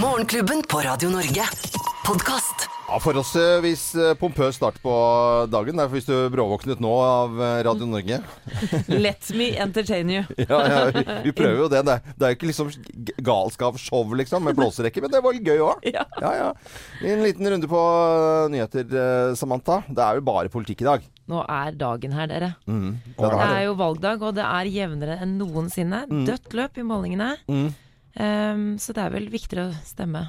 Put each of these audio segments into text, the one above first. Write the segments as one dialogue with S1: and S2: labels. S1: Morgenklubben på Radio Norge. Podkast.
S2: Ja, Forholdsvis eh, pompøs start på dagen, derfor hvis du bråvåknet nå av eh, Radio Norge.
S3: Let me entertain you.
S2: Ja, ja, vi, vi prøver jo det. Det er, det er jo ikke liksom g- galskapsshow liksom, med blåserekke, men det var gøy òg.
S3: Ja.
S2: Ja, ja. En liten runde på eh, nyheter, eh, Samantha. Det er jo bare politikk i dag.
S3: Nå er dagen her, dere.
S2: Det er
S3: Det
S2: det. Mm.
S3: er jo valgdag, og det er jevnere enn noensinne. Dødt løp i målingene. Um, så det er vel viktigere å stemme.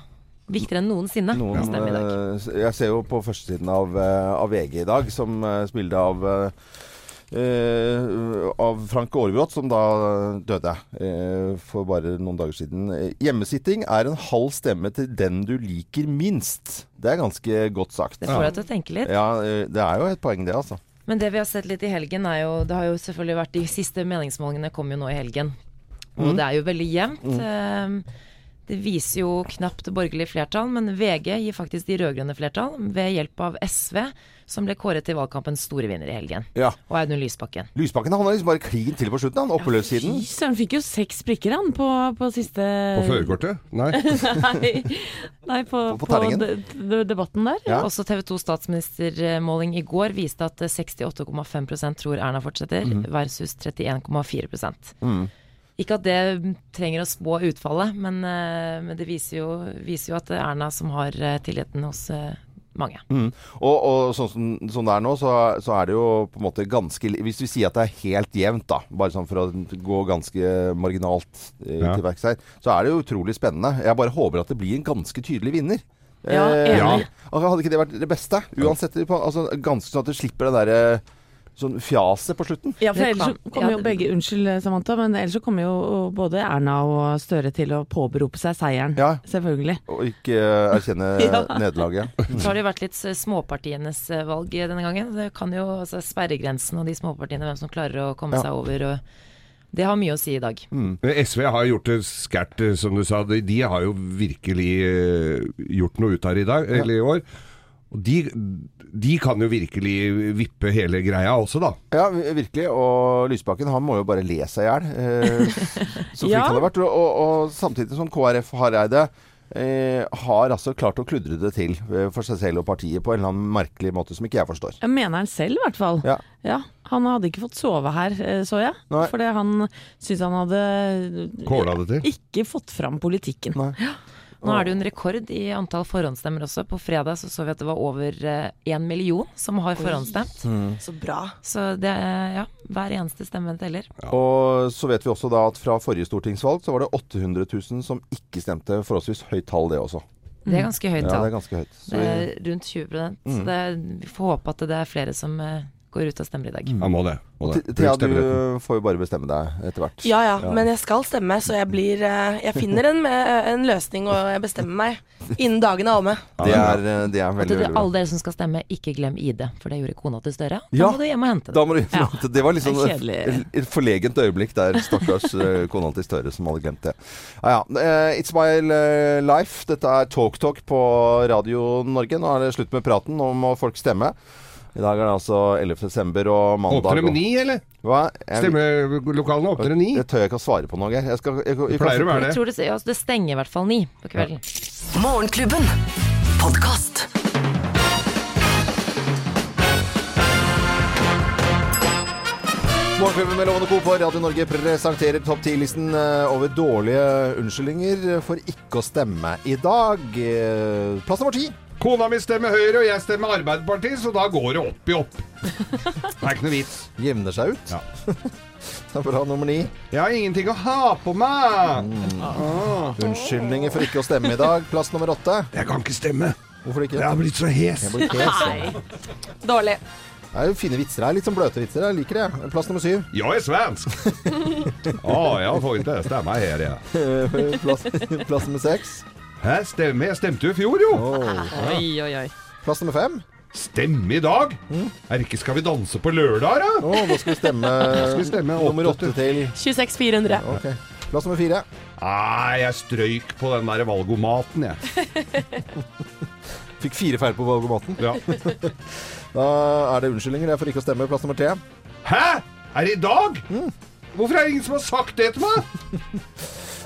S3: Viktigere enn noensinne
S2: Noen,
S3: å stemme i dag.
S2: eh, jeg ser jo på førstesiden av, eh, av VG i dag, som eh, bilde av eh, eh, av Frank Aarebrot, som da døde eh, for bare noen dager siden. Eh, Hjemmesitting er en halv stemme til den du liker minst. Det er ganske godt sagt.
S3: Det får deg til å tenke litt.
S2: Ja, eh, det er jo et poeng, det, altså.
S3: Men det vi har sett litt i helgen, er jo Det har jo selvfølgelig vært De siste meningsmålingene kom jo nå i helgen.
S2: Mm.
S3: Og det er jo veldig jevnt. Ehm, Det viser jo knapt borgerlig flertall, men VG gir faktisk de rød-grønne flertall ved hjelp av SV, som ble kåret til valgkampens store vinner i helgen.
S2: Ja.
S3: Og Audun Lysbakken.
S2: Lysbakken han har liksom bare klin til på slutten, han. Oppe løssiden.
S4: Fy søren, fikk jo seks prikker han på, på siste
S5: På førerkortet? Nei.
S4: Nei, nei på,
S2: På- på
S4: på,
S2: terningen.
S4: de, de, debatten der.
S2: Ja.
S3: Også TV 2 statsministermåling i går viste at 68,5 tror Erna fortsetter, versus 31,4 Ikke at det trenger å spå utfallet, men, eh, men det viser jo, viser jo at det er Erna som har eh, tilliten hos eh, mange.
S2: Og, og sånn som sånn det er nå, så, så er det jo på en måte ganske li- Hvis vi sier at det er helt jevnt, da, bare sånn for å gå ganske marginalt eh,
S5: Ja.
S2: til verks her, så er det jo utrolig spennende. Jeg bare håper at det blir en ganske tydelig vinner.
S4: Ja,
S2: Eh,
S4: enig.
S2: altså, hadde ikke det vært det beste? Uansett, på- altså, ganske sånn at du slipper det derre sånn fjaset på slutten.
S4: Ja, for
S3: Det
S4: ellers
S3: kan-
S4: så
S3: ja,
S4: kommer jo
S3: det-
S4: begge Unnskyld, eh, Samantha, men ellers så kommer jo både Erna og Støre til å påberope seg seieren.
S2: Ja.
S4: Selvfølgelig.
S2: Og ikke eh, erkjenne nederlaget.
S3: Så har det jo vært litt eh, småpartienes eh, valg eh, denne gangen. Det kan jo altså, sperregrensen og de småpartiene, hvem som klarer å komme
S2: Ja.
S3: seg over. Og det har mye å si i dag.
S5: Men SV har gjort det skært, eh, som du sa. De, de har jo virkelig eh, gjort noe ut av det i dag, eller i år. Og de, de kan jo virkelig vippe hele greia også, da.
S2: Ja, virkelig. Og Lysbakken han må jo bare le seg i hjel. Eh, så flink
S4: Ja.
S2: han har vært. Og, og, og samtidig som KrF Hareide eh, har altså klart å kludre det til eh, for seg selv og partiet på en eller annen merkelig måte som ikke jeg forstår.
S4: Jeg mener han selv, i hvert fall.
S2: Ja.
S4: Han hadde ikke fått sove her, eh, så jeg.
S2: Nei.
S4: Fordi han syntes han hadde
S5: Kåla det til.
S4: ikke fått fram politikken.
S2: Nei.
S3: Nå er det jo en rekord i antall forhåndsstemmer også. På fredag så, så vi at det var over én million som har forhåndsstemt.
S2: Mm.
S4: Så bra.
S3: Så det er- ja, hver eneste stemme teller.
S2: Og så vet vi også da at fra forrige stortingsvalg så var det 800 000 som ikke stemte. Forholdsvis høyt tall, det også.
S3: Det er ganske høyt
S2: Ja, det
S3: tall.
S2: er ganske høyt. Mm. Så
S3: Det er rundt 20 Så det er, vi får håpe at det er flere som eh, går ut og stemmer i dag.
S2: Mm.
S5: Ja, må det. Må det.
S2: Th- Thea,
S5: Bruk stemmeretten.
S2: du får jo bare bestemme deg etter hvert.
S6: Ja, ja, men jeg skal stemme, så jeg blir eh, Jeg finner en, eh, en løsning, og jeg bestemmer meg innen dagen er omme.
S2: Det er, eh, det er
S3: Og til
S2: veldig, veldig
S3: dere-
S2: bra.
S3: alle dere som skal stemme, ikke glem ID, for det gjorde kona til Støre. Da
S2: Ja.
S3: må du hjem og hente
S2: Da
S3: det.
S2: må du Det var liksom
S4: Det er
S2: et
S4: kjedelig.
S2: et forlegent øyeblikk der stakkars eh, kona til Støre som hadde glemt det. Ja, ja. Eh, It's my eh, life. Dette er Talk Talk på Radio Norge. Nå er det slutt med praten. Nå må folk stemme. I dag er det altså 11. desember og mandag.
S5: Åpner de
S2: og-
S5: med ni, eller?
S2: Hva? Jeg,
S5: Stemmelokalene åpner med ni.
S2: Det tør jeg ikke å svare på nå, Geir. Jeg skal, jeg, jeg,
S5: Det pleier å være
S3: Jeg
S5: det.
S3: tror det, ja, det stenger i hvert fall ni på kvelden.
S1: Morgenklubben. Podkast.
S2: Morgenklubben med Lovende Co. på Radio Norge presenterer topp 10-listen eh, over dårlige unnskyldninger for ikke å stemme i dag. Eh, Plass nummer ti.
S5: Kona mi stemmer Høyre, og jeg stemmer Arbeiderpartiet, så da går det opp i opp. Det er ikke noe vits.
S2: Jevner seg ut.
S5: Ja.
S2: Det er bra nummer ni.
S5: Jeg har ingenting å ha på meg.
S2: Mm. Unnskyldninger for ikke å stemme i dag. Plass nummer åtte.
S5: Jeg kan ikke stemme.
S2: Hvorfor ikke?
S5: Jeg har blitt så hes.
S2: Jeg blir hes.
S6: Dårlig.
S2: Det er jo fine vitser her. Litt sånn bløte vitser. Jeg liker det. Plass nummer syv.
S5: Jag är svensk! Ja, jag får inte stämma här. Ja.
S2: Plass, plass nummer seks.
S5: Här stämmer, jag stämte ju i fjol jo!
S4: Oi, oi, oi.
S2: Plass nummer fem.
S5: Stämme idag! Er det ikke Skal vi danse på lørdag, da?
S2: Å, nå skal vi stemme,
S5: vi stemme
S2: nummer
S5: åtte
S2: åtte til.
S6: 26 400.
S2: Ok. Plass nummer fire.
S5: Nei, jeg strøyk på den der valgomaten, jeg.
S2: Fikk fire feil på valgomaten.
S5: Ja.
S2: Da er det unnskyldninger det er for ikke å stemme. Plass nummer tre.
S5: Hæ? Er det i dag? Hvorfor er det ingen som har sagt det til meg?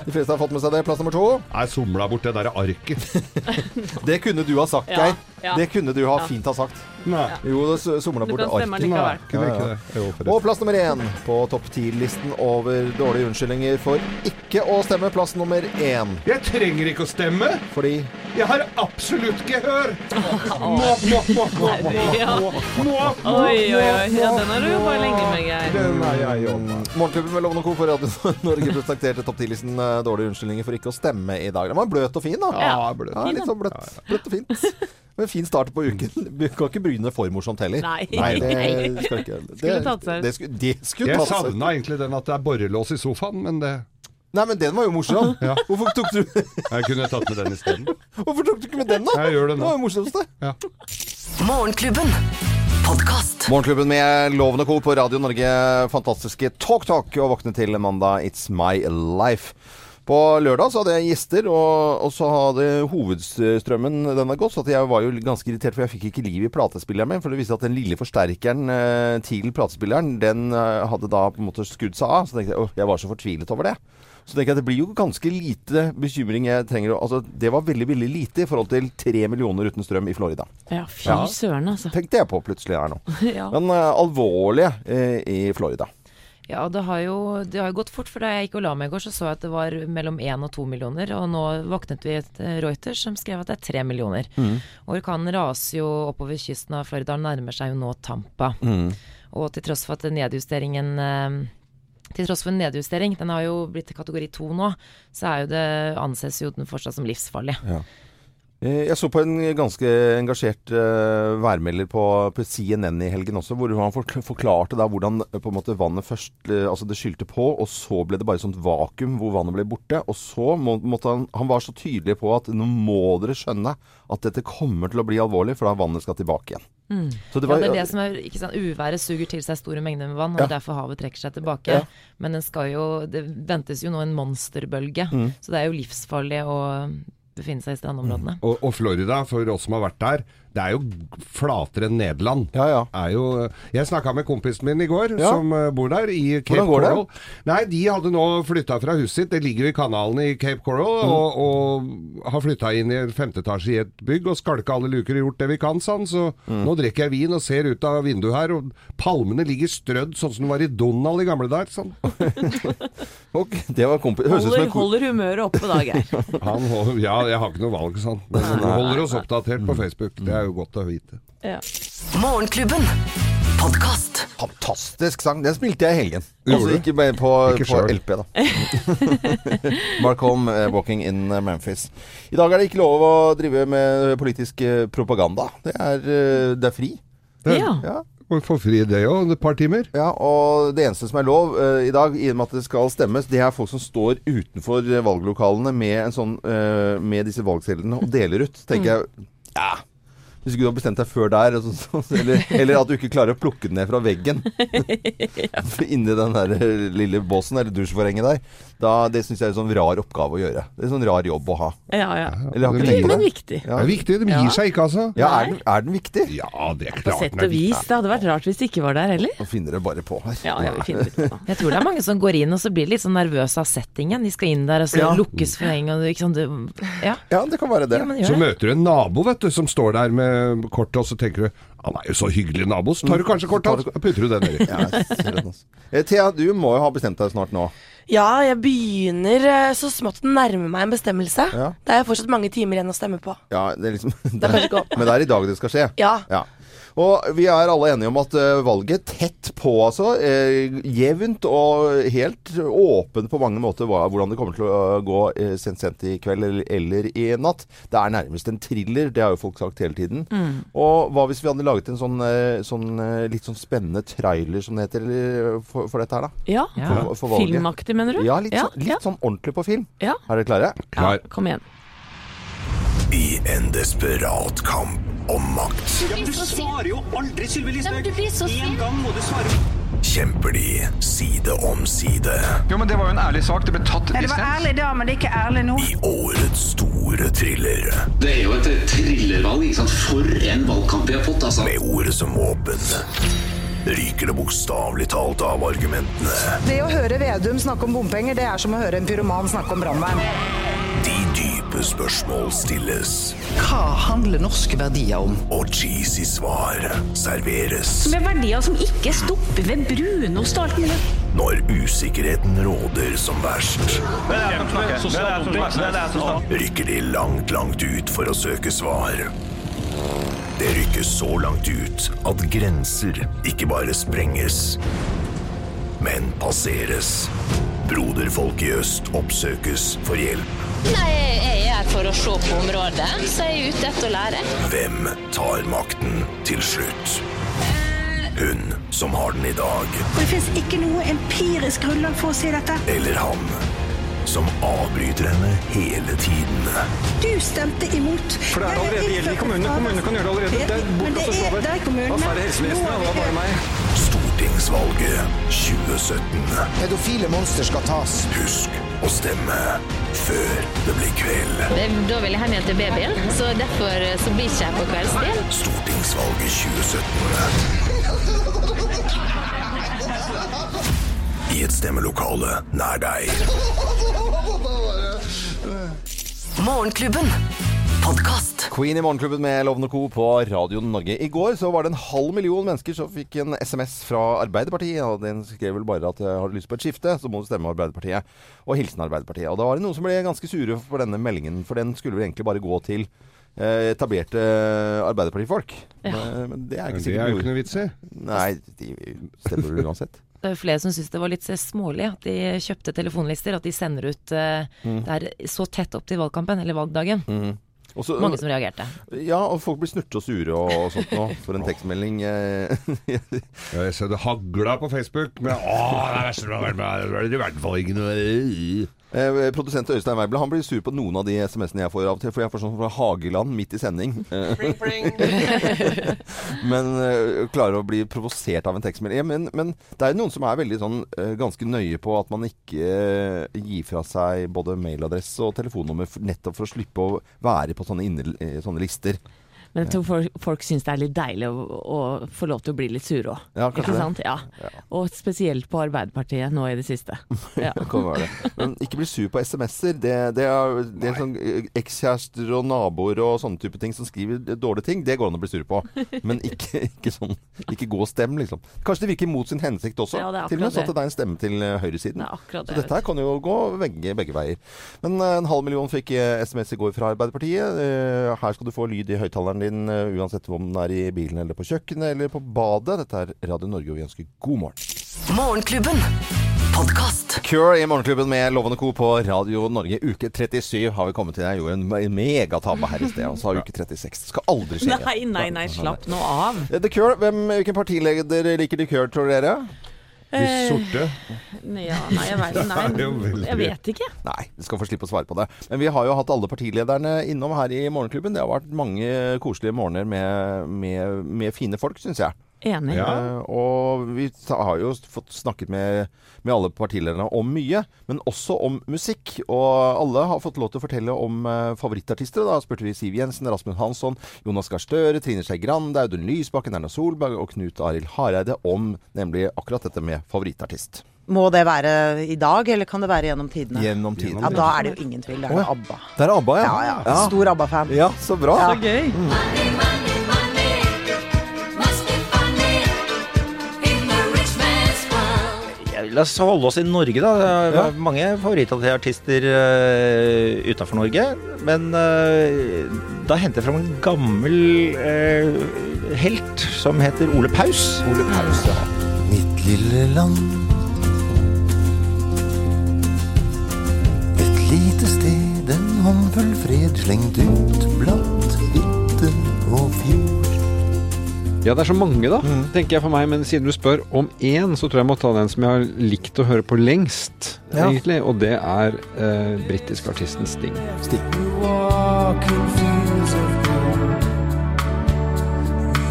S2: De fleste har fått med seg det. Plass nummer to.
S5: Jeg somla bort det der arket.
S2: Det kunne du ha sagt,
S7: Ja,
S2: Geir.
S7: ja.
S2: Det kunne du ha fint ha sagt.
S5: Nei.
S2: Jo, det s- somla
S7: Du
S2: bort
S7: kan stemme
S2: arken.
S7: likevel.
S5: Kunne jeg ikke det? Jo, forresten.
S2: Og plass nummer én på topp ti-listen over dårlige unnskyldninger for ikke å stemme. Plass nummer én
S5: Jeg trenger ikke å stemme!
S2: fordi
S5: Jeg har absolutt gehør! Må, må, må, må, må,
S7: Ja.
S5: må, må, må.
S7: Oi, oi, oi. Ja, den har du jobba lenge med, Geir.
S5: Den er jeg om.
S2: Mm, Morgenklubben med Lovende Co. for Radio Norge presenterte topp 10-listen eh, dårlige unnskyldninger for ikke å stemme i dag. Den var bløt og fin, da.
S5: Ja, bløt.
S2: Ja, litt sånn bløtt, bløtt og fint. Men fin start på uken. Du kan ikke begynne for morsomt heller.
S7: Nei.
S2: det skal ikke det-
S3: Skulle tatt seg ut.
S2: Det skulle, det skulle
S5: Jeg
S2: tatt seg ut.
S5: savna egentlig den at det er borrelås i sofaen, men det
S2: Nei, men den var jo morsom.
S5: Ja.
S2: Hvorfor, tok du,
S5: Jeg kunne tatt med den isteden.
S2: hvorfor tok du ikke med den, da?
S5: Jeg gjør det nå.
S2: var jo morsomste.
S5: Ja.
S1: Morgenklubben. Podkast.
S2: Morgenklubben med Lovende Co. på Radio Norge. Fantastiske Talk Talk og våkne til mandag It's My Life. På lørdag så hadde jeg gjester, og, og så hadde hovedstrømmen denne gått. Så at jeg var jo ganske irritert, for jeg fikk ikke liv i platespilleren min. For det viste at den lille forsterkeren eh, til platespilleren, den eh, hadde da på en måte skrudd seg av. Så tenkte jeg åh, jeg var så fortvilet over det. Så tenker jeg at det blir jo ganske lite bekymring jeg trenger å Altså det var veldig, veldig lite i forhold til tre millioner uten strøm i Florida.
S4: Ja, fy søren, altså.
S2: Tenkte jeg på plutselig her nå.
S3: Ja.
S2: Men eh, alvorlige eh, i Florida.
S3: Ja, det har, jo, det har jo gått fort, for da jeg gikk og la meg i går, så så jeg at det var mellom 1 og 2 millioner, og nå våknet vi et eh, Reuters som skrev at det er 3 millioner. Orkanen raser jo oppover kysten av Florida, og nærmer seg jo nå Tampa. Og til tross for at nedjusteringen eh, til tross for en nedjustering, den har jo blitt kategori 2 nå, så er jo det, anses jo den fortsatt som livsfarlig.
S2: Eh, Jeg så på en ganske engasjert eh, værmelder på, på CNN i helgen også, hvor han forkl- forklarte da hvordan eh, på en måte vannet først eh, Altså det skylte på, og så ble det bare sånt vakuum hvor vannet ble borte. Og så må, måtte han Han var så tydelig på at nå må dere skjønne at dette kommer til å bli alvorlig, for da vannet skal tilbake igjen. Så det
S3: Mm. Ja,
S2: var-
S3: det er det som er, ikke sant, Uværet suger til seg store mengder med vann, og derfor havet trekker seg tilbake.
S2: Ja.
S3: Men den skal jo, det ventes jo nå en monsterbølge, så det er jo livsfarlig å befinne seg i strandområdene.
S5: Og, og Florida, for oss som har vært der, det er jo flatere enn Nederland.
S2: Ja, ja.
S5: Er jo, eh, jeg snakka med kompisen min i går,
S2: Ja.
S5: som eh, bor der, i Cape
S2: Hvordan går det?
S5: Coral. Nei, de hadde nå flytta fra huset sitt, det ligger jo i kanalen i Cape Coral,
S2: Mm.
S5: og, og har flytta inn i en femte etasje i et bygg og skalka alle luker og gjort det vi kan, sa han. Så
S2: Mm.
S5: nå drikker jeg vin og ser ut av vinduet her, og palmene ligger strødd sånn som det var i Donald i gamle dager. Sånn.
S2: Ok, det var kompi... Høres ut som
S7: Holder,
S2: en ko-
S7: holder humøret oppe da, Geir.
S5: Han, hold- ja, jeg har ikke noe valg, sa han. Men vi holder oss oppdatert på Facebook, det er jo godt å vite.
S7: Ja.
S1: Morgenklubben. Podkast.
S2: Fantastisk sang. Den spilte jeg i helgen.
S5: Gjorde
S2: altså
S5: du?
S2: ikke bare på,
S5: Ikke
S2: på
S5: selv.
S2: LP, da. Marcom, eh, 'Walking in Memphis'. I dag er det ikke lov å drive med politisk eh, propaganda. Det er, eh, det er fri.
S5: Det,
S4: Ja.
S2: Ja.
S5: Må vi få fri det òg, et par timer.
S2: ja, og det eneste som er lov eh, i dag, i og med at det skal stemmes, det er folk som står utenfor eh, valglokalene med, en sånn, eh, med disse valgsedlene og deler ut. Så tenker jeg ja, hvis ikke du har bestemt deg før der, og så, så, eller, eller at du ikke klarer å plukke den ned fra veggen inni den der eh, lille båsen eller dusjforhenget der, da, det syns jeg er en sånn rar oppgave å gjøre. Det er en sånn rar jobb å ha.
S4: Ja, ja.
S2: Eller har ikke
S5: Men-
S2: tenkt på
S4: Men
S2: det.
S4: viktig.
S2: Ja.
S5: Det er viktig, de gir seg ikke, altså.
S2: Ja, er den, er den viktig?
S5: Ja, det er
S4: På
S5: klart.
S4: sett
S5: den er
S4: og vis. Det hadde vært rart hvis det ikke var der heller.
S2: Nå finner dere bare på her.
S4: Ja, ja, vi finner ut av det.
S3: Jeg tror det er mange som går inn og så blir de litt sånn nervøse av settingen. De skal inn der, og så
S2: Ja.
S3: lukkes forhenget, og du- ikke sant. Du, ja.
S2: Ja, det kan være det.
S3: ja, men
S5: Så
S3: gjør det.
S5: møter du en nabo vet du, som står der med kortet, og så tenker du han er jo så hyggelig nabo, så tar du kanskje kortet hans og putter du det nedi.
S2: Mm. Ja, jeg ser den, altså. Eh, Thea, du må jo ha bestemt deg snart nå.
S6: Ja, jeg begynner eh, så smått å nærme meg en bestemmelse.
S2: Ja.
S6: Det er fortsatt mange timer igjen å stemme på.
S2: Ja, det er liksom,
S6: Det er kanskje ikke opp.
S2: men det er i dag det skal skje.
S6: Ja.
S2: Og vi er alle enige om at eh, valget tett på, altså. eh, jevnt og helt åpent på mange måter hva, hvordan det kommer til å gå eh, sent sent i kveld eller, eller i natt. Det er nærmest en thriller, det har jo folk sagt hele tiden.
S4: Mm.
S2: Og hva hvis vi hadde laget en sånn, eh, sånn eh, litt sånn spennende trailer, som det heter, eller, eh, for, for dette her, da?
S4: Ja.
S3: Ja.
S2: For, for valget.
S4: Filmaktig, mener du?
S2: Ja, litt, sånn-
S4: ja.
S2: litt sånn ordentlig på film.
S4: Ja.
S2: Er dere klare?
S5: Klar.
S4: ja. Kom igjen.
S8: I en desperat kamp om makt
S9: Du svarer jo aldri, Sylvi
S10: Nei, men
S9: Listhaug.
S10: du blir så
S9: En
S10: sint.
S9: gang må du svare.
S8: kjemper de side om side
S11: Jo, men Det var jo en ærlig sak. Det ble tatt dissens.
S10: da, men det er ikke ærlig nå.
S8: i årets store thriller
S9: Det er jo et thrillervalg. ikke sant? For en valgkamp vi har fått, altså.
S8: med ordet som våpen. ryker det bokstavelig talt av argumentene.
S10: Det å høre Vedum snakke om bompenger, det er som å høre en pyroman snakke om brannvern.
S8: De dype spørsmål stilles,
S1: Hva handler norske verdier om?
S8: og cheesy svar serveres.
S12: Som er verdier som ikke stopper ved brunost og alt mulig.
S8: Når usikkerheten råder som verst,
S11: Hvem er det som snakker? Hvem er det som snakker? Hvem er det som snakker?
S8: rykker de langt, langt ut for å søke svar. Det rykkes så langt ut at grenser ikke bare sprenges, men passeres. Broderfolk i øst oppsøkes for hjelp.
S13: Nei, jeg er her for å se på området, så jeg er ute etter å lære.
S8: Hvem tar makten til slutt? Hun som har den i dag,
S14: Og det fins ikke noe empirisk grunnlag for å si dette.
S8: eller han som avbryter henne hele tiden.
S14: Du stemte imot.
S11: For det er
S14: Jeg
S11: allerede
S14: innført
S11: gjelder i kommunene.
S14: kravet.
S11: Kommunene kan gjøre det allerede.
S14: Jeg
S11: Det er
S14: vet, men
S11: bortkastet
S14: det er-
S11: svar.
S14: Det er
S11: Hva
S14: kommunene.
S11: er det helsevesenet?
S14: Nå er
S11: Det var bare meg.
S8: Stortingsvalget 2017.
S15: Pedofile monster skal tas.
S8: Husk å stemme før det blir kveld.
S13: Det, da vil jeg hjem igjen til babyen, så derfor eh, så blir ikke jeg på kveldstid.
S8: Stortingsvalget 2017. I et stemmelokale nær deg.
S1: Morgenklubben. Podkast.
S2: Queen i Morgenklubben med Lovende Co. på Radio Norge. I går så var det en halv million mennesker som fikk en SMS fra Arbeiderpartiet. Og den skrev vel bare at eh, har du lyst på et skifte, så må du stemme Arbeiderpartiet. Og hilsen Arbeiderpartiet. Og da var det noen som ble ganske sure for denne meldingen, for den skulle vel egentlig bare gå til eh, etablerte Arbeiderpartifolk. Men- Men det er
S5: Men
S2: ikke
S5: det er
S2: sikkert
S5: jo ikke noe
S2: vits i. Nei, de stemmer vel uansett.
S3: Det er jo flere som syns det var litt eh, smålig at de kjøpte telefonlister, at de sender ut eh,
S2: Mm.
S3: det er så tett opp til valgkampen, eller valgdagen.
S2: Mhm. Og så-
S3: Mange som reagerte.
S2: eh, Ja, og folk blir snurte og sure og, og sånt nå, for en tekstmelding. eh,
S5: Ja, jeg ser det hagla på Facebook med Å, det er verste som har vært med Det er i hvert fall ikke noe øh,
S2: Eh, Produsent Øystein Weible han blir sur på noen av de SMS-ene jeg får av og til, for jeg får sånn fra Hageland midt i sending.
S5: Pling, pling.
S2: men eh, klarer å bli provosert av en tekstmelding. Ja, men, men det er jo noen som er veldig sånn eh, ganske nøye på at man ikke eh, gir fra seg både mailadresse og telefonnummer f- nettopp for å slippe å være på sånne, inne, eh, sånne lister.
S4: Men jeg tror folk, folk syns det er litt deilig å, å få lov til å bli litt sure òg.
S2: Ja, kanskje
S4: ikke
S2: det.
S4: sant? Ja. Og spesielt på Arbeiderpartiet nå i det siste. Ja.
S2: Det kan være det. Men ikke bli sur på SMS-er. Det, det er, det er sånn eh, ekskjærester og naboer og sånne type ting som skriver dårlige ting. Det går an å bli sur på. Men ikke, ikke sånn Ikke gå og stem, liksom. Kanskje det virker mot sin hensikt også.
S4: Ja, det er
S2: til og med
S4: akkurat
S2: satte deg en stemme til eh, høyresiden.
S4: akkurat det,
S2: Så dette her kan jo gå begge, begge veier. Men eh, en halv million fikk eh, SMS i går fra Arbeiderpartiet. Eh, Her skal du få lyd i høyttaleren din eh, uansett om den er i bilen eller på kjøkkenet eller på badet. Dette er Radio Norge, og vi ønsker god morgen.
S1: Morgenklubben. Podkast.
S2: Cure i Morgenklubben med Lovende Co. på Radio Norge. Uke 37 har vi kommet til. Jeg gjorde en me- megatabbe her i sted. Og så har uke 36. Det skal aldri skje.
S4: Nei, nei, nei, slapp nå av.
S2: Eh, The Cure, hvem, hvilken partileder liker The Cure, tror dere?
S4: De sorte. Ja, nei, jeg vet, Eh, nei,
S2: Det er jo veldig-
S4: jeg vet ikke.
S2: Nei, du skal få slippe å svare på det. Men vi har jo hatt alle partilederne innom her i Morgenklubben. Det har vært mange koselige morgener med, med, med fine folk, syns jeg.
S4: Enig.
S2: Eh, og vi ta- har jo fått snakket med, med alle partilederne om mye, men også om musikk. Og alle har fått lov til å fortelle om eh, favorittartister. Da spurte vi Siv Jensen, Rasmus Hansson, Jonas Gahr Støre, Trine Skei Grande, Audun Lysbakken, Erna Solberg og Knut Arild Hareide om nemlig akkurat dette med favorittartist.
S16: Må det være i dag, eller kan det være gjennom tidene?
S2: Gjennom tidene.
S16: Ja, Da er det jo ingen tvil. Det er
S2: Å,
S16: jo
S2: ja.
S16: ABBA.
S2: Det er ABBA, ja.
S16: Ja, ja. Stor ABBA-fan.
S2: Ja, så bra.
S16: Ja.
S17: Ja, La oss holde oss i Norge, da. Det er mange favorittartister uh, utenfor Norge. Men eh, da henter jeg fram en gammel eh, helt som heter Ole Paus. Ole Paus, ja.
S18: Mitt lille land. Et lite sted, en håndfull fred slengt ut blant hytte og fjord.
S19: Ja, det er så mange, da,
S2: Mm.
S19: tenker jeg for meg. Men siden du spør om én, så tror jeg jeg må ta den som jeg har likt å høre på lengst,
S18: Ja.
S19: egentlig. Og det er eh, britisk artisten Sting.
S18: You walk in fields of gold.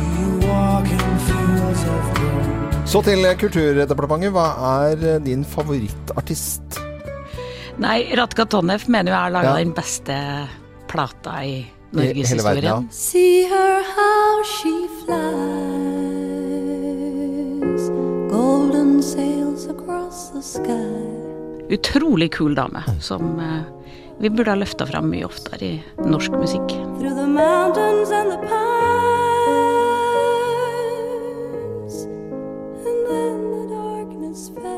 S18: You walk in fields of gold.
S2: Så til eh, Kulturdepartementet. Hva er eh, din favorittartist?
S20: Nei, Ratka Tonnef mener jo jeg har laga
S2: Ja.
S20: den beste plata i
S2: I hele verden, ja.
S20: norgeshistorien.
S21: See her how she flies.
S22: sails across the sky.
S23: Utrolig kul dame som eh, vi burde ha løfta fram mye oftere i norsk musikk.
S22: Through the mountains and the pines, and then the darkness fell.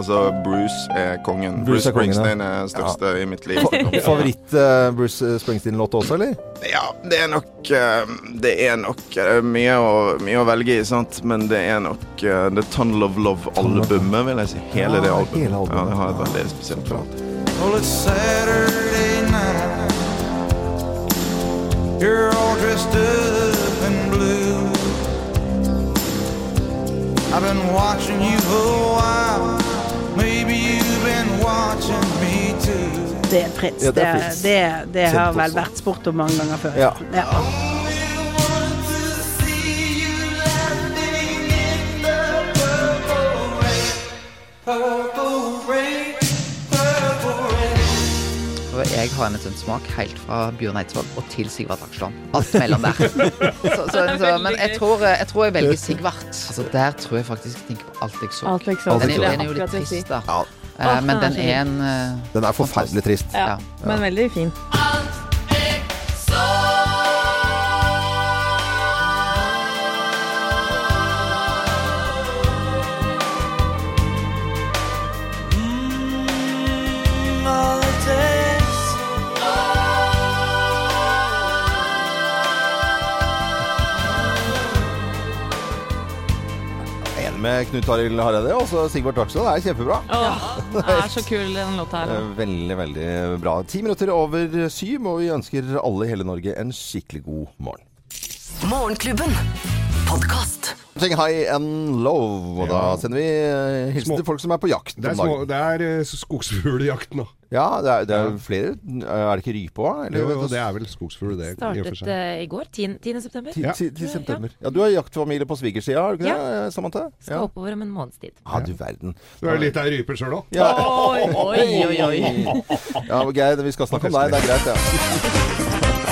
S8: Altså, Bruce er kongen. Bruce,
S2: Bruce er kongen,
S8: Springsteen
S2: ja.
S8: er største i mitt liv.
S2: Fa- Favoritt eh, Bruce Springsteen-låt også, eller?
S8: Ja, det er nok eh, Det er nok eh, mye å, mye å velge i, sant? men det er nok eh, The Tunnel of Love-albumet, vil jeg si. Hele det
S2: Ah,
S8: albumet.
S2: hele albumet.
S8: Ja, det har et veldig spesielt forhold til.
S14: Well, it's Saturday night. You're all dressed up in blue. I've been watching you a while. Maybe you've been watching me too.
S24: Det er Fritz.
S8: Ja,
S24: det,
S8: det er
S24: er
S8: Fritz.
S24: det, det har
S8: Kjent
S24: vel
S8: også.
S24: vært spurt om mange ganger før.
S8: Ja.
S14: Purple rain, purple rain.
S25: Og jeg har en sånn smak helt fra Bjørn Eidsvåg og til Sigvart Aksland. Alt mellom der. Så, så, så, men jeg tror jeg, tror jeg velger Sigvart. Altså, der tror jeg faktisk jeg tenker på Alt jeg så.
S24: Alt jeg så.
S25: Den,
S24: Alt
S25: er-
S24: jeg så.
S25: den er jo litt
S24: Akkurat jeg
S25: trist, da.
S24: sier.
S25: Eh,
S24: Åh,
S25: Men
S24: den er
S25: den
S24: så
S25: er en eh,
S2: Den er forferdelig trist.
S24: Ja, men veldig fin.
S14: all it takes.
S2: Enig med Knut Arild Hareide og så Sigvard Takstad. Det er kjempebra.
S4: Det er så kul, den låta her.
S2: Veldig, veldig bra. Ti minutter over syv, og vi ønsker alle i hele Norge en skikkelig god morgen.
S1: Morgenklubben. Podkast.
S2: Sing high and low, og da sender vi eh, hilsen til folk som er på jakt.
S5: Det er,
S2: om dagen.
S5: små- det er eh, skogsfugljakt nå.
S2: Ja, det er, det er flere. Er det ikke rype òg?
S5: Jo, jo, det er vel skogsfugl, det. i og for
S3: Startet
S5: seg.
S4: øh,
S3: eh, i går, 10. 10. september.
S2: Ti- ti- ti september. Ja, du har jaktfamilie på svigersida, har du ikke
S3: Ja.
S2: det, Samantha?
S3: Skal oppover om en måneds tid.
S2: Ja, du verden.
S5: Du er jo litt av ei rype sjøl òg.
S2: Ja.
S3: Oi, oi, oi, oi.
S2: Ja, men Geir, vi skal snakke om deg. Det er greit, ja.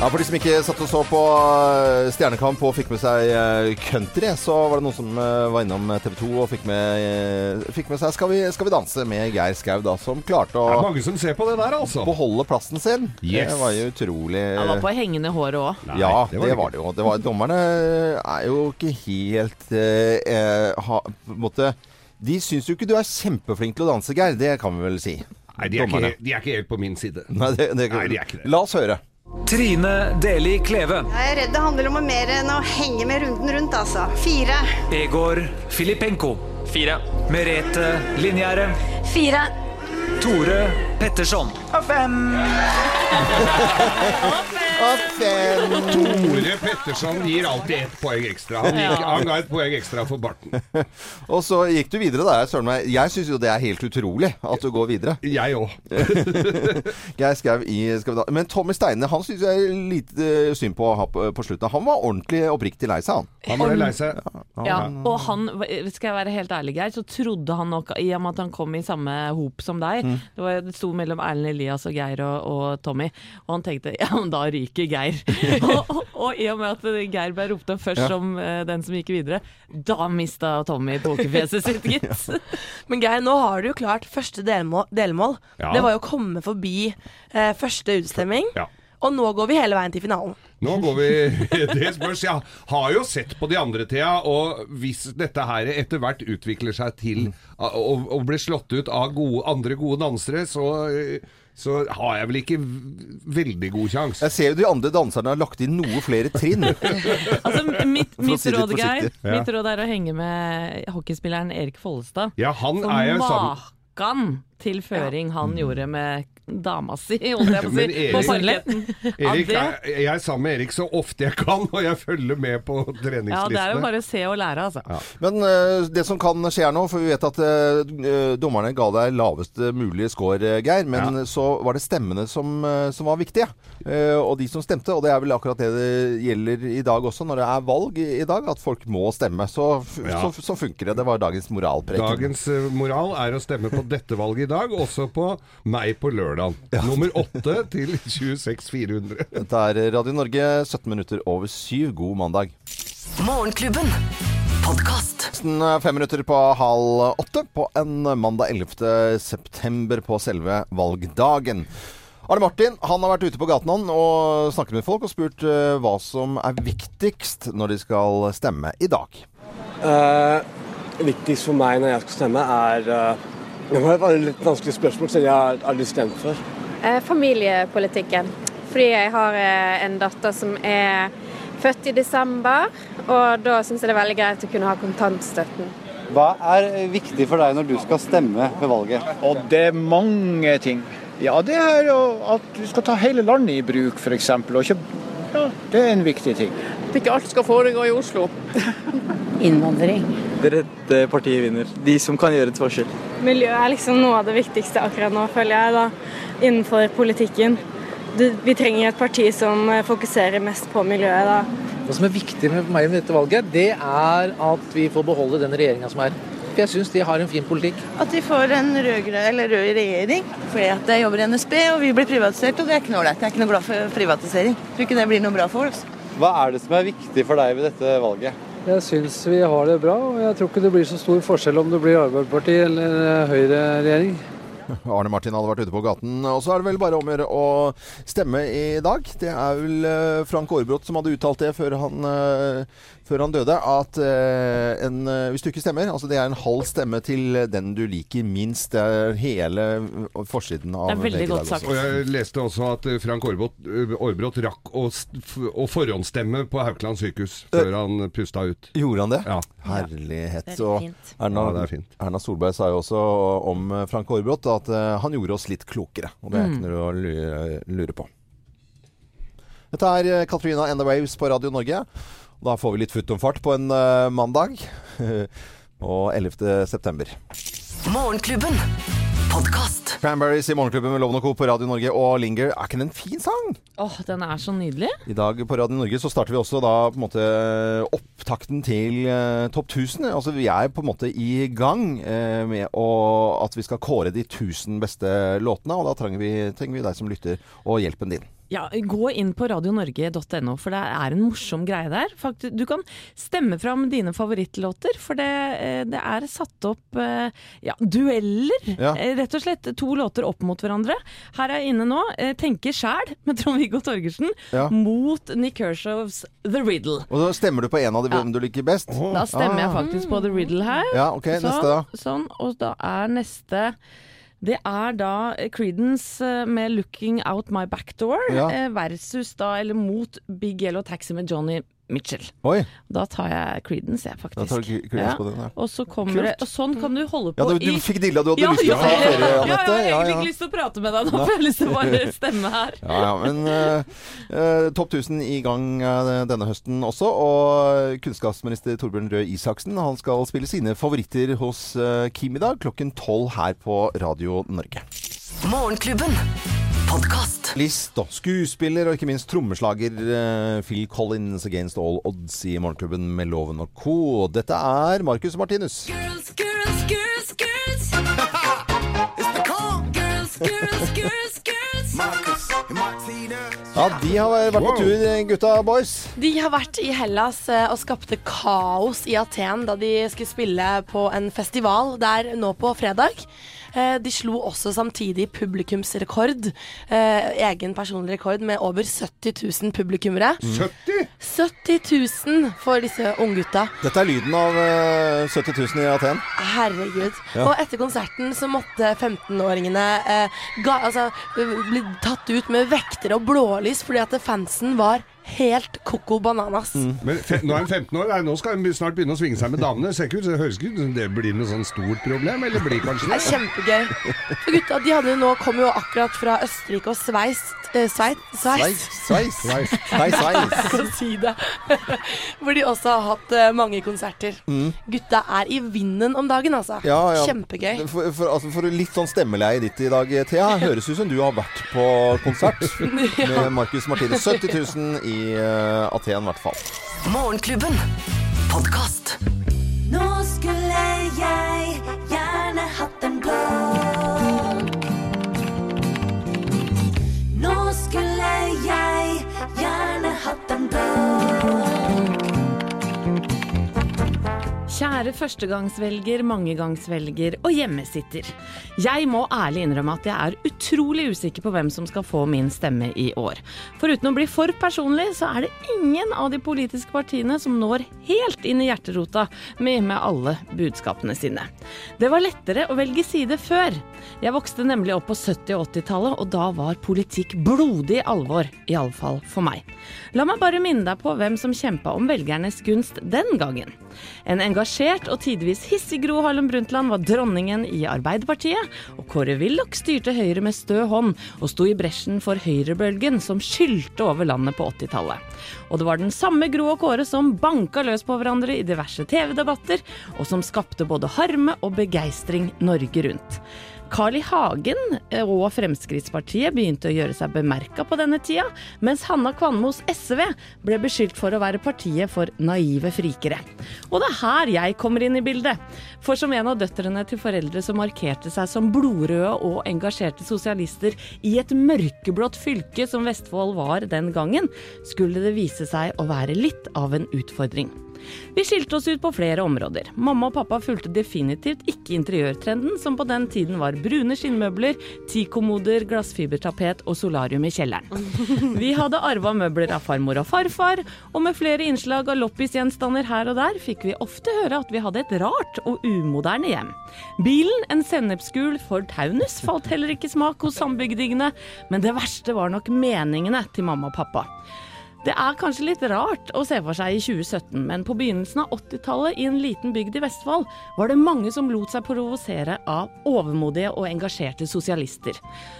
S2: Ja, For de som ikke satt og så på eh, Stjernekamp og fikk med seg eh, country, så var det noen som eh, var innom TV 2 og fikk med, eh, fikk med seg skal vi, skal vi danse? med Geir Skau, da, som klarte å
S5: Det er mange som ser på det der, altså.
S2: beholde plassen sin.
S5: Yes.
S2: Det var jo utrolig
S4: Han var på hengende håret òg.
S2: ja, det var det, jo. Det var, dommerne eh, er jo ikke helt eh, eh, ha, på en måte, De syns jo ikke du er kjempeflink til å danse, Geir. Det kan vi vel si.
S5: Nei, de er, ikke, helt- de er ikke helt på min side.
S2: Nei, det, det,
S5: Nei, de er ikke det.
S2: La oss høre.
S26: Trine Deli Kleve.
S27: Jeg er redd det handler om mer enn å henge med runden rundt, altså. Fire.
S26: Egor Filipenko. Fire. Merete Linjære.
S27: Fire.
S26: Tore Petterson.
S27: Og fem.
S5: Tore Petterson gir alltid ett poeng ekstra. Han, gikk,
S2: Ja.
S5: han ga et poeng ekstra for barten.
S2: Og så gikk du videre, da. Søren meg. Jeg syns jo det er helt utrolig at du går videre.
S5: Jeg òg.
S2: Geir Skau i Skal vi da Men Tommy Steine han syns jeg er litt eh, synd på å ha på, på slutten. Han var ordentlig oppriktig lei seg, han.
S5: Han ble lei seg.
S4: Ja, og han, skal jeg være helt ærlig Geir, så trodde han nok, i og med at han kom i samme hop som deg
S28: Mm.
S4: Det, var, det sto mellom Erlend Elias og Geir og, og Tommy, og han tenkte ja, men da ryker Geir. og, og, og i og med at Geir ble ropt opp først
S6: Ja.
S4: som eh, den som gikk videre, da mista Tommy pokerfjeset sitt, gitt.
S6: Men Geir, nå har du jo klart første delmål. delmål.
S5: Ja.
S6: Det var jo å komme forbi eh, første utstemming.
S5: Ja.
S6: Og nå går vi hele veien til finalen.
S5: Nå går vi Det spørs. Jeg har jo sett på de andre, Thea, og hvis dette her etter hvert utvikler seg til å, å- å bli slått ut av gode, andre gode dansere, så, eh, så har jeg vel ikke v- veldig god sjanse.
S2: Jeg ser jo de andre danserne har lagt inn noe flere trinn.
S4: Altså, Mitt,
S2: For å
S4: mitt
S2: si det
S4: råd, Geir,
S2: forsiktig. Ja.
S4: mitt råd er å henge med hockeyspilleren Erik Follestad.
S5: Ja, han
S4: For
S5: er jo sånn- sammen
S4: Makan til føring han gjorde med dama si, holdt jeg på å si,
S5: Men Erik-
S4: på parketten. Ja,
S5: Erik,
S4: det-
S5: er, jeg er sammen med Erik så ofte jeg kan, og jeg følger med på treningslistene.
S4: Ja, det er jo bare å se og lære, altså.
S2: Men eh, det som kan skje her nå, for vi vet at eh, dommerne ga deg lavest mulige score, eh, Geir, men så var det stemmene som, eh, som var viktige. Eh, og de som stemte, og det er vel akkurat det det gjelder i dag også, når det er valg i, i dag, at folk må stemme. Så, f
S5: Ja.
S2: så, så funker det. Det var dagens moralpreken.
S5: Dagens eh, moral er å stemme på dette valget i dag, også på meg på Stjørdal. Nummer 8 til 26400.
S2: Dette er Radio Norge, 17 minutter over syv. God mandag.
S1: Morgenklubben. Podkast.
S2: Nesten eh, fem minutter på halv åtte på en mandag 11. september på selve valgdagen. Arne Martin han har vært ute på gaten han og snakket med folk og spurt eh, hva som er viktigst når de skal stemme i dag.
S9: Eh, viktigst for meg når jeg skal stemme, er eh, Det var et litt vanskelig spørsmål, siden jeg har aldri stemt før.
S10: Eh, Familiepolitikken. Fordi jeg har eh, en datter som er født i desember, og da syns jeg det er veldig greit å kunne ha kontantstøtten.
S11: Hva er viktig for deg når du skal stemme ved valget?
S12: Og det er mange ting. Ja, det er jo at du skal ta hele landet i bruk, f.eks. Og ikke Ja, det er en viktig ting.
S13: At ikke alt skal foregå i Oslo.
S15: Innvandring.
S29: Det rette partiet vinner. De som kan gjøre et forskjell.
S30: Miljø er liksom noe av det viktigste akkurat nå, føler jeg, da, innenfor politikken. Du, vi trenger et parti som eh, fokuserer mest på miljøet, da.
S31: Det som er viktig for meg med dette valget, det er at vi får beholde den regjeringa som er. For jeg syns de har en fin politikk.
S15: At vi får en rød-grønn eller rød regjering. Fordi at jeg jobber i NSB, og vi blir privatisert, og det er ikke noe ålreit. Jeg er ikke noe glad for privatisering. Tror ikke det blir noe bra for altså. oss.
S11: Hva er det som er viktig for deg ved dette valget?
S32: Jeg syns vi har det bra, og jeg tror ikke det blir så stor forskjell om det blir Arbeiderpartiet eller eh, høyreregjering.
S2: Arne Martin hadde vært ute på gaten. Og så er det vel bare om å gjøre å stemme i dag. Det er vel eh, Frank Aarebrot som hadde uttalt det før han, eh, før han døde, at eh, en, eh, hvis du ikke stemmer Altså det er en halv stemme til den du liker minst. Det er hele eh, forsiden av VG i dag også.
S5: Og jeg leste også at eh, Frank Aarebrot Aarebrot rakk å, s- f- å forhåndsstemme på Haukeland sykehus før han pusta ut.
S2: Gjorde han det?
S5: Ja.
S2: Herlighet.
S5: Det er
S2: Og
S5: fint.
S2: Erna,
S5: Ja, det er fint.
S2: Erna Solberg sa jo også om eh, Frank Aarebrot at eh, han gjorde oss litt klokere. Og det
S5: Mm.
S2: er ikke noe å lure, lure på. Dette er eh, Katrina and the Waves på Radio Norge. Og Da får vi litt futt om fart på en eh, mandag. og 11. september.
S1: Morgenklubben. Podkast.
S2: Cranberries i Morgenklubben med Loven og Co. på Radio Norge og Linger. Er ikke det en fin sang?
S4: Åh, den er så nydelig.
S2: I dag på Radio Norge så starter vi også da på en måte opptakten til eh, topp 1000. Altså vi er på en måte i gang eh, med å, at vi skal kåre de 1000 beste låtene, og da trenger vi, trenger vi deg som lytter og hjelpen din.
S4: Ja, Gå inn på radionorge.no, for det er en morsom greie der. Fakt- Du kan stemme fram dine favorittlåter, for det, eh, det er satt opp eh, ja, dueller.
S33: Ja.
S4: Eh, Rett og slett to låter opp mot hverandre. Her er jeg inne nå eh, 'Tenke sjæl' med Trond-Viggo Torgersen
S2: Ja.
S4: mot Nick Kershaws 'The Riddle'.
S2: Og da stemmer du på en av de
S4: Ja.
S2: hvem du liker best.
S4: Da stemmer jeg
S2: Ah.
S4: faktisk på The Riddle her.
S2: Ja, ok, neste da.
S4: Sånn, og da er neste det er da Creedence eh, med 'Looking Out My Back Door'
S2: Ja.
S4: eh, versus da, eller mot Big Yellow Taxi med Johnny Mitchell.
S2: Oi.
S4: Da tar jeg Creedence, jeg, faktisk.
S2: Da tar du Cre- Creedence på den, ja.
S4: Og så kommer
S2: Kult.
S4: det Og sånn kan du holde
S2: Ja, du-
S4: på
S2: du
S4: i
S2: fikk dilla du hadde lyst til å ta ferie, Anette.
S4: Ja,
S2: Ja,
S4: jeg har egentlig
S2: ja.
S4: ikke lyst til å prate med deg
S2: Nei.
S4: nå, for jeg har lyst til å bare stemme her.
S2: Ja, ja, men eh, eh, Topp 1000 i gang eh, denne høsten også. Og kunnskapsminister Torbjørn Røe Isaksen han skal spille sine favoritter hos eh, Kim i dag klokken tolv her på Radio Norge.
S1: Morgenklubben. Podkast.
S2: List og skuespiller og ikke minst trommeslager eh, Phil Collins Against All Odds i Morgenklubben med Loven og co. Og Dette er Marcus Martinus.
S21: Girls, girls, girls, girls. it's the call. Girls, girls, girls, girls. Marcus and Martina.
S2: Ja, de har vært på tur, gutta boys.
S6: De har vært i Hellas eh, og skapte kaos i Aten da de skulle spille på en festival der nå på fredag. Eh, De slo også samtidig publikumsrekord, eh, egen personlig rekord, med over 70 000 publikummere.
S5: Mm. 70?
S6: 70 000 for disse unggutta.
S2: Dette er lyden av eh, 70 000 i Aten.
S6: Herregud.
S2: Ja.
S6: Og etter konserten så måtte 15-åringene eh, ga- altså, eh, bli tatt ut med vektere og blålys fordi at fansen var helt koko bananas.
S5: Men fe, nå er han 15 år, nei, nå skal han snart begynne å svinge seg med damene. Ser ikke ut, det høres ikke ut som det blir noe sånn stort problem, eller blir kanskje
S6: Det er kjempegøy. For gutta de hadde jo nå, kom jo akkurat fra Østerrike og Sveis eh, Sveits? Sveits?
S2: Sveis. Sveis. Sveis.
S6: Jeg kan si det. Hvor de også har hatt eh, mange konserter.
S2: Mm.
S6: Gutta er i vinden om dagen, altså.
S2: Ja, ja.
S6: Kjempegøy.
S2: For, for, altså, for litt sånn stemmeleie ditt i dag, Thea. Høres ut som du har vært på konsert med Marcus Martinus. 70 000 i eh, Aten, i hvert fall.
S1: Morgenklubben. Podkast.
S21: Nå skulle jeg gjerne hatt en blå.
S4: være førstegangsvelger, mangegangsvelger og hjemmesitter. Jeg må ærlig innrømme at jeg er utrolig usikker på hvem som skal få min stemme i år. For uten å bli for personlig, så er det ingen av de politiske partiene som når helt inn i hjerterota med, med alle budskapene sine. Det var lettere å velge side før. Jeg vokste nemlig opp på 70- og 80-tallet, og da var politikk blodig alvor. Iallfall for meg. La meg bare minne deg på hvem som kjempa om velgernes gunst den gangen. En engasjert og tidvis hissig Gro Harlem Brundtland var dronningen i Arbeiderpartiet, og Kåre Willoch styrte Høyre med stø hånd og sto i bresjen for høyrebølgen som skylte over landet på 80-tallet. Og det var den samme Gro og Kåre som banka løs på hverandre i diverse TV-debatter, og som skapte både harme og begeistring Norge rundt. Carl I. Hagen eh, og Fremskrittspartiet begynte å gjøre seg bemerka på denne tida, mens Hanna Kvanmos SV ble beskyldt for å være partiet for naive frikere. Og det er her jeg kommer inn i bildet. For som en av døtrene til foreldre som markerte seg som blodrøde og engasjerte sosialister i et mørkeblått fylke som Vestfold var den gangen, skulle det vise seg å være litt av en utfordring. Vi skilte oss ut på flere områder. Mamma og pappa fulgte definitivt ikke interiørtrenden, som på den tiden var brune skinnmøbler, teakommoder, glassfibertapet og solarium i kjelleren. Vi hadde arva møbler av farmor og farfar, og med flere innslag av loppisgjenstander her og der fikk vi ofte høre at vi hadde et rart og umoderne hjem. Bilen, en sennepsgul Ford Taunus, falt heller ikke i smak hos sambygdingene, men det verste var nok meningene til mamma og pappa. Det er kanskje litt rart å se for seg i 2017, men på begynnelsen av 80-tallet i en liten bygd i Vestfold var det mange som lot seg provosere av overmodige og engasjerte sosialister.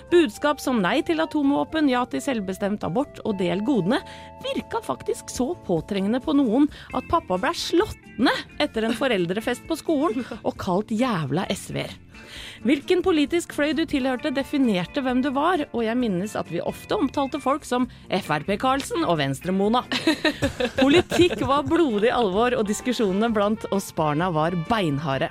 S4: Budskap som nei til atomvåpen, ja til selvbestemt abort og del godene virka faktisk så påtrengende på noen at pappa ble slått ned etter en foreldrefest på skolen og kalt jævla SV-er. Hvilken politisk fløy du tilhørte, definerte hvem du var, og jeg minnes at vi ofte omtalte folk som Frp-Karlsen og Venstre-Mona. Politikk var blodig alvor, og diskusjonene blant oss barna var beinharde.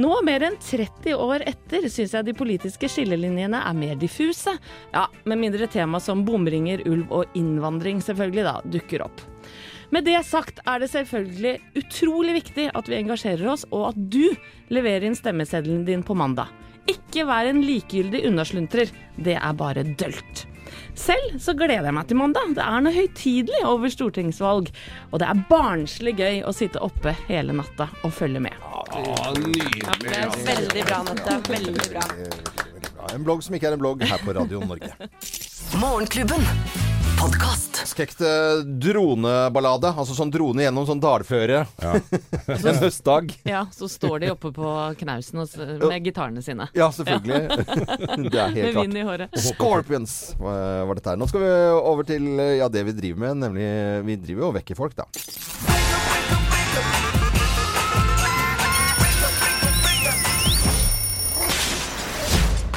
S4: Nå, mer enn 30 år etter, syns jeg de politiske skillelinjene er mer diffuse. Ja, med mindre tema som bomringer, ulv og innvandring selvfølgelig da dukker opp. Med det sagt er det selvfølgelig utrolig viktig at vi engasjerer oss, og at du leverer inn stemmeseddelen din på mandag. Ikke vær en likegyldig unnasluntrer. Det er bare dølt. Selv så gleder jeg meg til mandag. Det er noe høytidelig over stortingsvalg. Og det er barnslig gøy å sitte oppe hele natta og følge med.
S5: Å, nydelig. altså.
S6: Veldig bra, Nette. Veldig bra.
S2: Ja, Eh, en blogg som ikke er en blogg her på Radio Norge.
S1: Morgenklubben. Podkast.
S2: Skekte droneballade. Altså sånn drone gjennom sånn dalføre. en høstdag.
S4: Ja, så står de oppe på knausen og s- med gitarene sine.
S2: Ja, selvfølgelig. Det er helt
S4: Med vind i
S2: klart.
S4: håret.
S2: Scorpions eh, var dette her. Nå skal vi over til eh, ja, det vi driver med, nemlig Vi driver jo og vekker folk, da.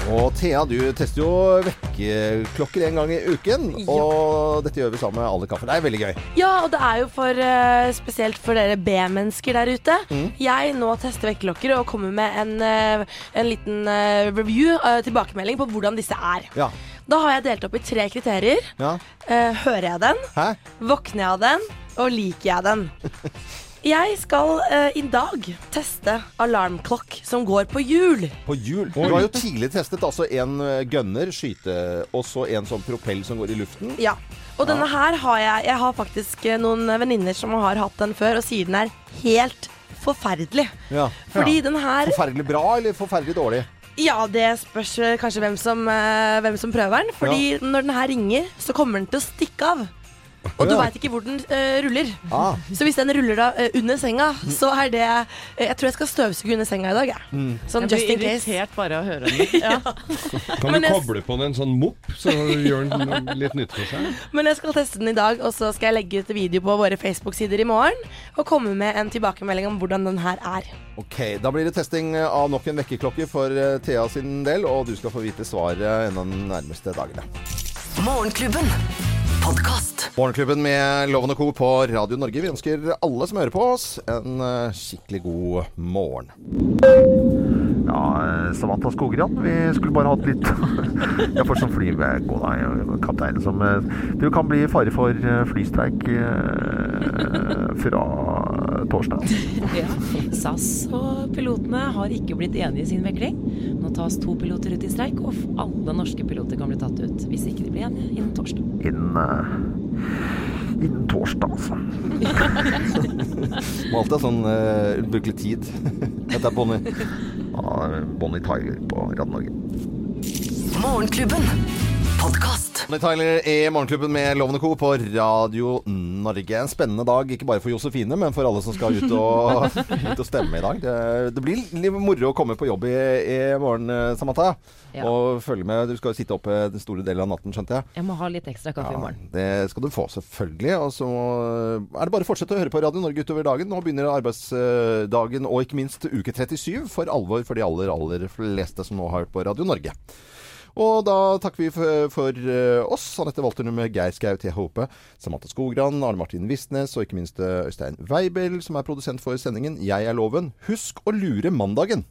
S2: Og Thea, du tester jo vekkerklokker en gang i uken. Og dette gjør vi sammen med alle kaffe. Det er veldig gøy.
S6: Ja, og det er jo for, eh, spesielt for dere B-mennesker der ute.
S2: Mm.
S6: Jeg nå tester vekkerklokker og kommer med en, eh, en liten eh, review, eh, tilbakemelding på hvordan disse er.
S2: Ja.
S6: Da har jeg delt opp i tre kriterier.
S2: ja.
S6: Eh, hører jeg den?
S2: Hæ?
S6: Våkner jeg av den? Og liker jeg den? Jeg skal eh, i dag teste alarmklokk som går på hjul.
S2: På hjul. Du har jo tidlig testet altså en eh, gønner, skyte, og så en sånn propell som går i luften.
S6: Ja. Og denne her har jeg Jeg har faktisk eh, noen venninner som har hatt den før og sier den er helt forferdelig.
S2: Ja.
S6: Fordi den her
S2: Forferdelig bra eller forferdelig dårlig?
S6: Ja, det spørs eh, kanskje hvem som, eh, hvem som prøver den. Fordi når den her ringer, så kommer den til å stikke av. Og du
S2: Ja.
S6: veit ikke hvor den eh, ruller.
S2: Ah.
S6: Så hvis den ruller da eh, under senga,
S2: Mm.
S6: så er det eh, Jeg tror jeg skal støvsuge under senga i dag, jeg.
S2: Mm.
S6: Sånn
S4: Jeg
S6: just
S4: blir
S6: in case.
S4: irritert bare av å høre den. Ja.
S5: Kan
S6: Men
S5: du
S6: jeg-
S5: koble på den en sånn mopp, så gjør den litt nytte for seg?
S6: Men jeg skal teste den i dag, og så skal jeg legge ut video på våre Facebook-sider i morgen. Og komme med en tilbakemelding om hvordan den her er.
S2: Ok, Da blir det testing av nok en vekkerklokke for eh, Thea sin del, og du skal få vite svaret en av de nærmeste dagene.
S1: Morgenklubben. Podkast.
S2: Morgenklubben med Loven og Co. på Radio Norge. Vi ønsker alle som hører på oss, en eh, skikkelig god morgen. Ja, eh, Samantha Skogran, vi skulle bare hatt litt Jeg får sånn flygå, da, kapteinen eh, som Du kan bli i fare for flystreik fra torsdag.
S3: Ja. SAS og pilotene har ikke blitt enige i sin vekling. Nå tas to piloter ut i streik, og alle norske piloter kan bli tatt ut hvis ikke de blir enige innen torsdag.
S2: Innen, eh, innen torsdag, altså. Må alltid ha sånn eh, utbrukelig tid. Dette er Bonnie. Ja, Bonnie Tyler på Radio Norge.
S1: Morgenklubben. Podkast.
S2: Bonnie Tyler i Morgenklubben med Lovende Co. på Radio Norge. En spennende dag, ikke bare for Josefine, men for alle som skal ut og, ut og stemme i dag. Det, det blir litt moro å komme på jobb i, i morgen, eh, Samantha.
S3: Ja.
S2: Og følge med. Du skal jo sitte oppe den store delen av natten, skjønte jeg.
S3: Jeg må ha litt ekstra kaffe i morgen.
S2: Det skal du få, selvfølgelig. Og så er det bare å fortsette å høre på Radio Norge utover dagen. Nå begynner arbeidsdagen, og ikke minst uke 37, for alvor for de aller, aller fleste som nå har hørt på Radio Norge. Og da takker vi for, for eh, oss. Anette Walternum, Geir Skau, T. Hope, Samantha Skogran, Arne Martin Visnes og ikke minst eh, Øystein Weibel, som er produsent for sendingen. Jeg er Loven. Husk å lure mandagen!